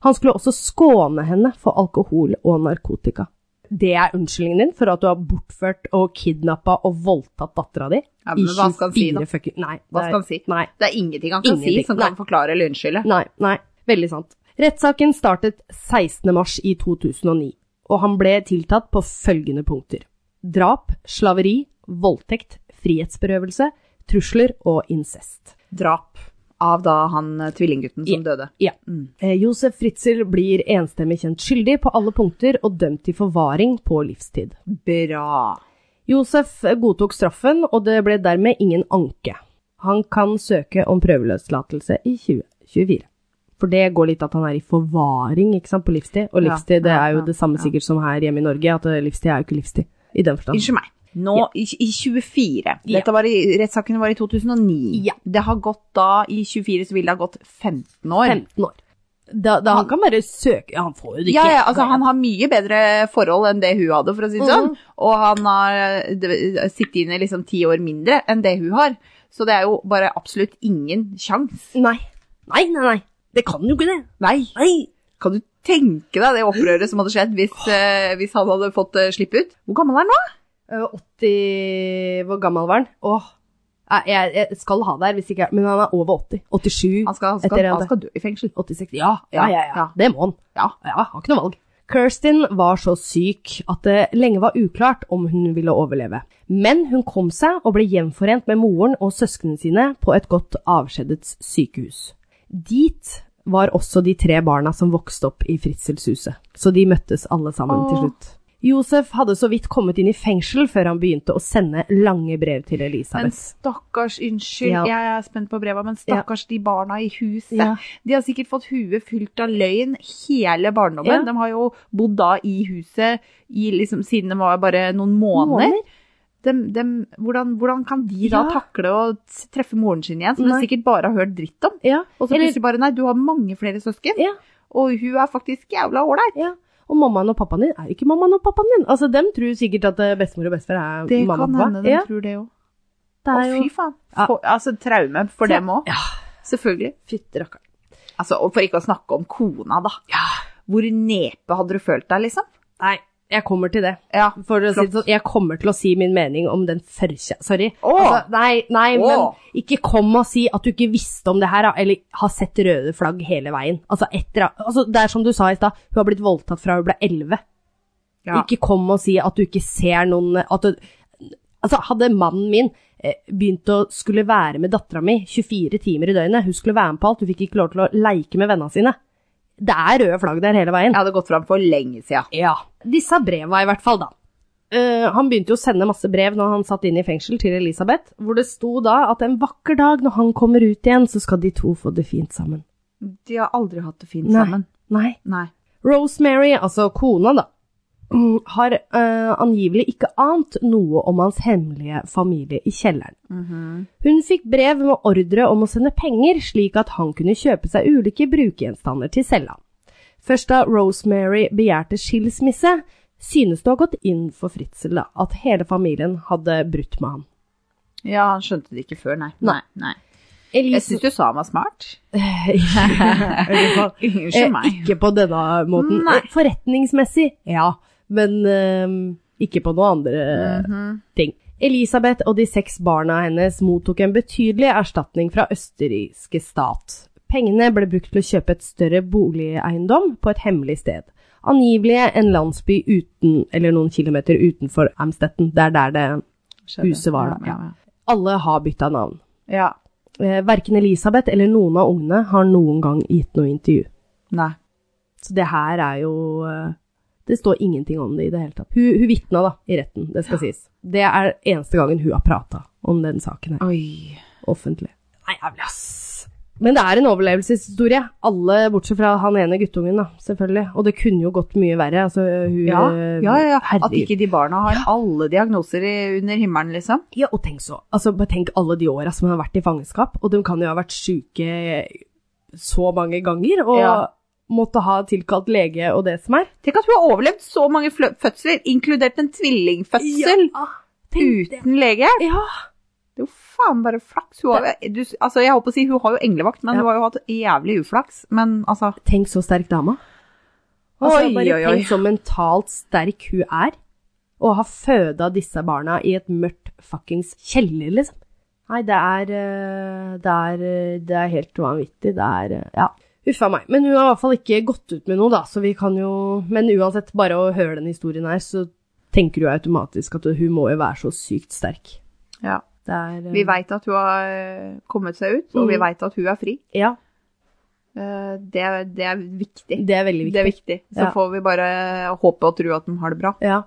Speaker 1: Han skulle også skåne henne for alkohol og narkotika. Det er unnskyldningen din for at du har bortført og kidnappa og voldtatt dattera di?
Speaker 2: Ja, men hva skal han si da?
Speaker 1: fucking Nei. det
Speaker 2: Hva
Speaker 1: er-
Speaker 2: skal han si?
Speaker 1: Nei.
Speaker 2: Det er ingenting han kan
Speaker 1: Ingenting.
Speaker 2: si som kan forklare eller unnskylde.
Speaker 1: Nei, nei, veldig sant. Rettssaken startet 16. mars i 2009, og han ble tiltatt på følgende punkter. Drap, slaveri, voldtekt, frihetsberøvelse, trusler og incest.
Speaker 2: Drap av da han eh, tvillinggutten som døde.
Speaker 1: Ja. Eh, Josef Fritzel blir enstemmig kjent skyldig på alle punkter og dømt til forvaring på livstid.
Speaker 2: Bra.
Speaker 1: Josef godtok straffen, og det ble dermed ingen anke. Han kan søke om prøveløslatelse i 2024. For det går litt at han er i forvaring ikke sant, på livstid, og
Speaker 2: Ja,
Speaker 1: livstid det
Speaker 2: ja,
Speaker 1: er jo
Speaker 2: ja,
Speaker 1: det samme
Speaker 2: ja.
Speaker 1: sikkert som her hjemme i Norge, at eh, livstid er jo ikke livstid. I den forstand.
Speaker 2: Unnskyld meg. Nå i, i 24.
Speaker 1: Ja.
Speaker 2: Dette var i, rettssaken var i 2009.
Speaker 1: Ja.
Speaker 2: Det har gått da, i 24 så ville det ha gått 15 år.
Speaker 1: 15 år. Da, da han, kan bare søke ja, Han får jo det ikke.
Speaker 2: Ja, ja, altså han har mye bedre forhold enn det hun hadde, for å si det sånn.
Speaker 1: Mhm.
Speaker 2: Og han har eh, det- sittet inne liksom ti år mindre enn det hun har. Så det er jo bare absolutt ingen sjans.
Speaker 1: Nei. Nei, nei, nei. Det kan jo ikke det.
Speaker 2: Nei.
Speaker 1: Nei.
Speaker 2: Kan du tenke deg det opprøret som hadde skjedd hvis, eh, hvis han hadde fått eh, slippe ut? Hvor gammel er han nå?
Speaker 1: Eh, 80 Hvor gammel var han? Åh. Nei, Jeg, jeg skal ha det her, hvis ikke jeg Men han er over 80. 87.
Speaker 2: Han skal, han skal,
Speaker 1: Etter det-
Speaker 2: han skal dø i fengsel.
Speaker 1: 86. Ja, ja, ja, ja.
Speaker 2: Ja.
Speaker 1: Det må han.
Speaker 2: Ja.
Speaker 1: Ja, har ikke noe valg. Kirstin var så syk at det lenge var uklart om hun ville overleve. Men hun kom seg og ble gjenforent med moren og søsknene sine på et godt avskjedets sykehus. Dit var også de tre barna som vokste opp i Fritzelshuset, så de møttes alle sammen til
Speaker 2: Åh.
Speaker 1: slutt. Josef hadde så vidt kommet inn i fengsel før han begynte å sende lange brev til
Speaker 2: Men
Speaker 1: Elisabeth.
Speaker 2: stakkars, unnskyld,
Speaker 1: Ja.
Speaker 2: jeg er spent på breva, men stakkars de barna i huset.
Speaker 1: Ja.
Speaker 2: De har sikkert fått huet fylt av løgn hele barndommen.
Speaker 1: Ja.
Speaker 2: De har jo bodd da i huset i, liksom, siden de var bare noen måneder. Dem- dem- hvordan, hvordan kan de da
Speaker 1: Ja.
Speaker 2: takle å t- treffe moren sin igjen, som
Speaker 1: Nei.
Speaker 2: de sikkert bare har hørt dritt om?
Speaker 1: Ja,
Speaker 2: Og så
Speaker 1: Eller-
Speaker 2: plutselig bare, nei, du har mange flere søsken,
Speaker 1: Ja.
Speaker 2: og hun er faktisk jævla ålreit.
Speaker 1: Ja. Og mammaen og pappaen din er ikke mammaen og pappaen din. Altså, Dem tror sikkert at eh, bestemor og bestefar er
Speaker 2: Det
Speaker 1: mamma
Speaker 2: kan
Speaker 1: og pappa.
Speaker 2: hende de
Speaker 1: ja,
Speaker 2: tror det òg.
Speaker 1: det
Speaker 2: Å,
Speaker 1: er jo
Speaker 2: fy faen.
Speaker 1: Ja.
Speaker 2: For, altså, traume for
Speaker 1: Ja.
Speaker 2: dem òg.
Speaker 1: Ja.
Speaker 2: Selvfølgelig.
Speaker 1: Fytti rakkeren.
Speaker 2: Altså, og for ikke å snakke om kona, da. Hvor nepe hadde du følt deg, liksom?
Speaker 1: Nei, jeg kommer til det.
Speaker 2: Ja,
Speaker 1: For å si det
Speaker 2: Flott.
Speaker 1: sånn, jeg kommer til å si min mening om den førkja... Sorry.
Speaker 2: Åh!
Speaker 1: Altså, nei, nei,
Speaker 2: Åh!
Speaker 1: men ikke kom og si at du ikke visste om det her, da, eller har sett røde flagg hele veien. Altså, etter, altså, det er som du sa i stad, hun har blitt voldtatt fra hun ble elleve.
Speaker 2: Ja.
Speaker 1: Ikke kom og si at du ikke ser noen at du, Altså, hadde mannen min eh, begynt å skulle være med dattera mi 24 timer i døgnet, hun skulle være med på alt, hun fikk ikke lov til å leike med vennene sine. Det er røde flagg der hele veien.
Speaker 2: Jeg hadde gått fram for lenge siden.
Speaker 1: Ja. Disse breva i hvert fall, da. Eh, han begynte jo å sende masse brev når han satt inn i fengsel til Elisabeth, hvor det sto da at en vakker dag når han kommer ut igjen, så skal de to få det fint sammen.
Speaker 2: De har aldri hatt det fint
Speaker 1: Nei.
Speaker 2: sammen.
Speaker 1: Nei.
Speaker 2: Nei.
Speaker 1: Rosemary, altså kona da, mm, har eh, angivelig ikke ant noe om hans hemmelige familie i kjelleren. Hun fikk brev med ordre om å sende penger slik at han kunne kjøpe seg ulike brukegjenstander til cella. Først da Rosemary begjærte skilsmisse, synes det å ha gått inn for Fritzel da, at hele familien hadde brutt med ham.
Speaker 2: Ja, han skjønte det ikke før, nei.
Speaker 1: Nei.
Speaker 2: nei. Jeg
Speaker 1: Elise...
Speaker 2: syns du sa han var smart.
Speaker 1: Eh,
Speaker 2: Unnskyld meg.
Speaker 1: Ikke på denne måten. Eh,
Speaker 2: Nei.
Speaker 1: Forretningsmessig, ja. Men eh, ikke på noen andre ting. Elisabeth og de seks barna hennes mottok en betydelig erstatning fra østerrikske stat. Pengene ble brukt til å kjøpe et større boligeiendom på et hemmelig sted. Angivelig en landsby uten, eller noen kilometer utenfor Amstetten. Det er der det
Speaker 2: Skjønner.
Speaker 1: huset var da,
Speaker 2: Ja, ja.
Speaker 1: Alle har bytta navn.
Speaker 2: ja.
Speaker 1: Eh, Verken Elisabeth eller noen av ungene har noen gang gitt noe intervju.
Speaker 2: Nei.
Speaker 1: Så det her er jo eh, Det står ingenting om det i det hele tatt. Hun, hun vitna da, i retten, det skal sies. Det er eneste gangen hun har prata om den saken her,
Speaker 2: Oi.
Speaker 1: offentlig. Nei, jævlig, ass. Men det er en overlevelseshistorie. Alle bortsett fra han ene guttungen, da, selvfølgelig. Og det kunne jo gått mye verre. Altså, hun,
Speaker 2: Ja,
Speaker 1: eh,
Speaker 2: ja, ja. At
Speaker 1: herregud.
Speaker 2: ikke de barna har alle diagnoser i, under himmelen, liksom.
Speaker 1: Ja, og tenk så. Altså, bare tenk alle de åra som hun har vært i fangenskap, og de kan jo ha vært syke eh, så mange ganger, og
Speaker 2: Ja.
Speaker 1: måtte ha tilkalt lege og det som er.
Speaker 2: Tenk at hun har overlevd så mange flø- fødsler, inkludert en tvillingfødsel,
Speaker 1: Ja, ah, tenk det.
Speaker 2: uten lege.
Speaker 1: Ja,
Speaker 2: Det er jo faen bare flaks. Hun har, du, altså, jeg håper å si hun har jo englevakt, men
Speaker 1: Ja.
Speaker 2: hun har jo hatt jævlig uflaks. Men altså
Speaker 1: tenk så sterk dama. Altså,
Speaker 2: Oi,
Speaker 1: bare
Speaker 2: oi, oi.
Speaker 1: tenk så mentalt sterk hun er, og har føda disse barna i et mørkt fuckings kjeller, liksom. Nei, det er, eh, det er, eh, det er helt vanvittig. Det er, eh, ja. Uffa meg. Men hun har i hvert fall ikke gått ut med noe, da, så vi kan jo Men uansett, bare å høre den historien her, så tenker du automatisk at hun må jo være så sykt sterk.
Speaker 2: ja.
Speaker 1: Det er eh,
Speaker 2: Vi veit at hun har eh, kommet seg ut, og vi
Speaker 1: Mhm.
Speaker 2: veit at hun er fri.
Speaker 1: Ja,
Speaker 2: Eh, Det, er- det er viktig.
Speaker 1: det er veldig viktig.
Speaker 2: Det er viktig. Så
Speaker 1: Ja.
Speaker 2: får vi bare håpe og tro at de har det bra.
Speaker 1: Ja,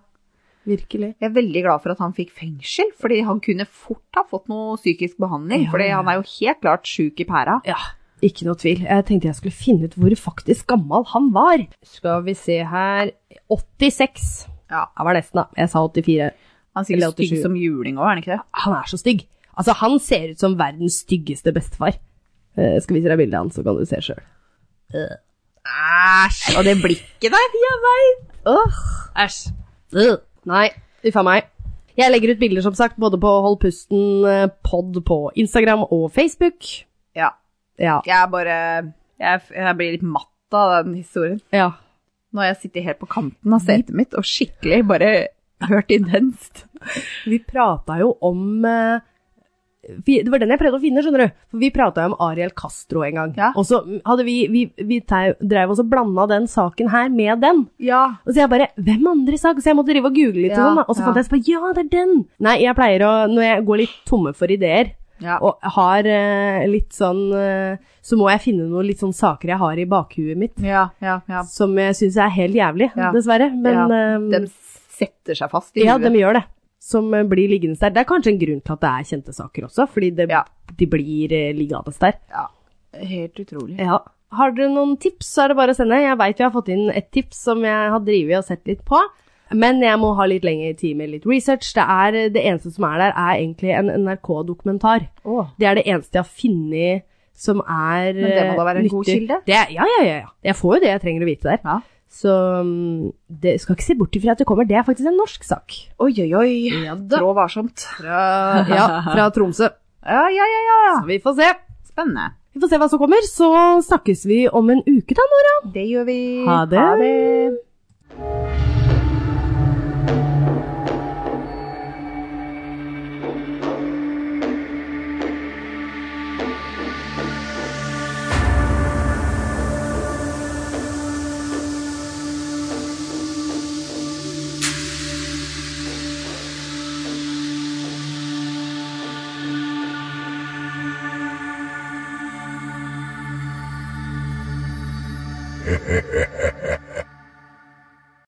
Speaker 1: virkelig.
Speaker 2: Jeg er veldig glad for at han fikk fengsel, fordi han kunne fort ha fått noe psykisk behandling.
Speaker 1: Ja,
Speaker 2: fordi
Speaker 1: ja.
Speaker 2: han er jo helt klart sjuk i pæra.
Speaker 1: Ja, ikke noe tvil. Jeg tenkte jeg skulle finne ut hvor faktisk gammel han var. Skal vi se her 86.
Speaker 2: Ja.
Speaker 1: Jeg var nesten, da. Jeg sa 84.
Speaker 2: Han er
Speaker 1: Eller
Speaker 2: sikkert stygg
Speaker 1: 87.
Speaker 2: som juling òg, er han ikke det?
Speaker 1: Han er så stygg. Altså, han ser ut som verdens styggeste bestefar. Eh, skal vise deg bildet av han, så kan du se sjøl.
Speaker 2: Æsj! Og det blikket der! Jeg veit!
Speaker 1: Åh, æsj. Øh. Nei, uffa meg. Jeg legger ut bilder, som sagt, både på Hold pusten eh, pod på Instagram og Facebook.
Speaker 2: Ja.
Speaker 1: Ja.
Speaker 2: Jeg er bare jeg, jeg blir litt matt av den historien.
Speaker 1: ja.
Speaker 2: Nå har jeg sittet helt på kanten av setet mitt og skikkelig bare hørt intenst.
Speaker 1: Vi prata jo om eh, vi, Det var den jeg prøvde å finne, skjønner du. For vi prata jo om Ariel Castro en gang.
Speaker 2: Ja.
Speaker 1: Og så hadde vi, vi, vi tei- dreiv oss og blanda den saken her med den.
Speaker 2: Ja.
Speaker 1: Og så jeg bare Hvem andre sak? Så jeg måtte drive og google litt og
Speaker 2: Ja,
Speaker 1: sånn, da. Og så
Speaker 2: ja.
Speaker 1: fant jeg så på Ja, det er den! Nei, jeg pleier å Når jeg går litt tomme for ideer
Speaker 2: Ja.
Speaker 1: og har eh, litt sånn eh, Så må jeg finne noen litt sånn saker jeg har i bakhuet mitt.
Speaker 2: ja, ja, ja.
Speaker 1: Som jeg syns er helt jævlig,
Speaker 2: Ja.
Speaker 1: dessverre. Men
Speaker 2: Ja,
Speaker 1: eh,
Speaker 2: De setter seg fast i
Speaker 1: ja,
Speaker 2: huet.
Speaker 1: de gjør det. Som eh, blir liggende der. Det er kanskje en grunn til at det er kjente saker også, fordi det,
Speaker 2: Ja.
Speaker 1: de blir eh, liggende der.
Speaker 2: Ja. Helt utrolig.
Speaker 1: Ja. Har dere noen tips, så er det bare å sende. Jeg veit vi har fått inn et tips som jeg har drevet og sett litt på. Men jeg må ha litt lengre tid med litt research. Det, er, eh, det eneste som er der, er egentlig en NRK-dokumentar.
Speaker 2: Åh.
Speaker 1: Det er det eneste jeg har funnet som er
Speaker 2: Men det må da være en
Speaker 1: eh,
Speaker 2: god
Speaker 1: nyttig.
Speaker 2: kilde?
Speaker 1: Det, er- ja, ja, ja, ja. Jeg får jo det jeg trenger å vite der.
Speaker 2: Ja.
Speaker 1: Så mm, det skal ikke se bort ifra at det kommer. Det er faktisk en norsk sak.
Speaker 2: Oi, oi, oi.
Speaker 1: Ja da.
Speaker 2: Trå varsomt.
Speaker 1: Fra, ja, fra Tromsø.
Speaker 2: Ja, ja, ja, ja.
Speaker 1: Så vi får se.
Speaker 2: Spennende.
Speaker 1: Vi får se hva som kommer, så snakkes vi om en uke da, Nora.
Speaker 2: Det gjør vi.
Speaker 1: Ha det.
Speaker 2: det.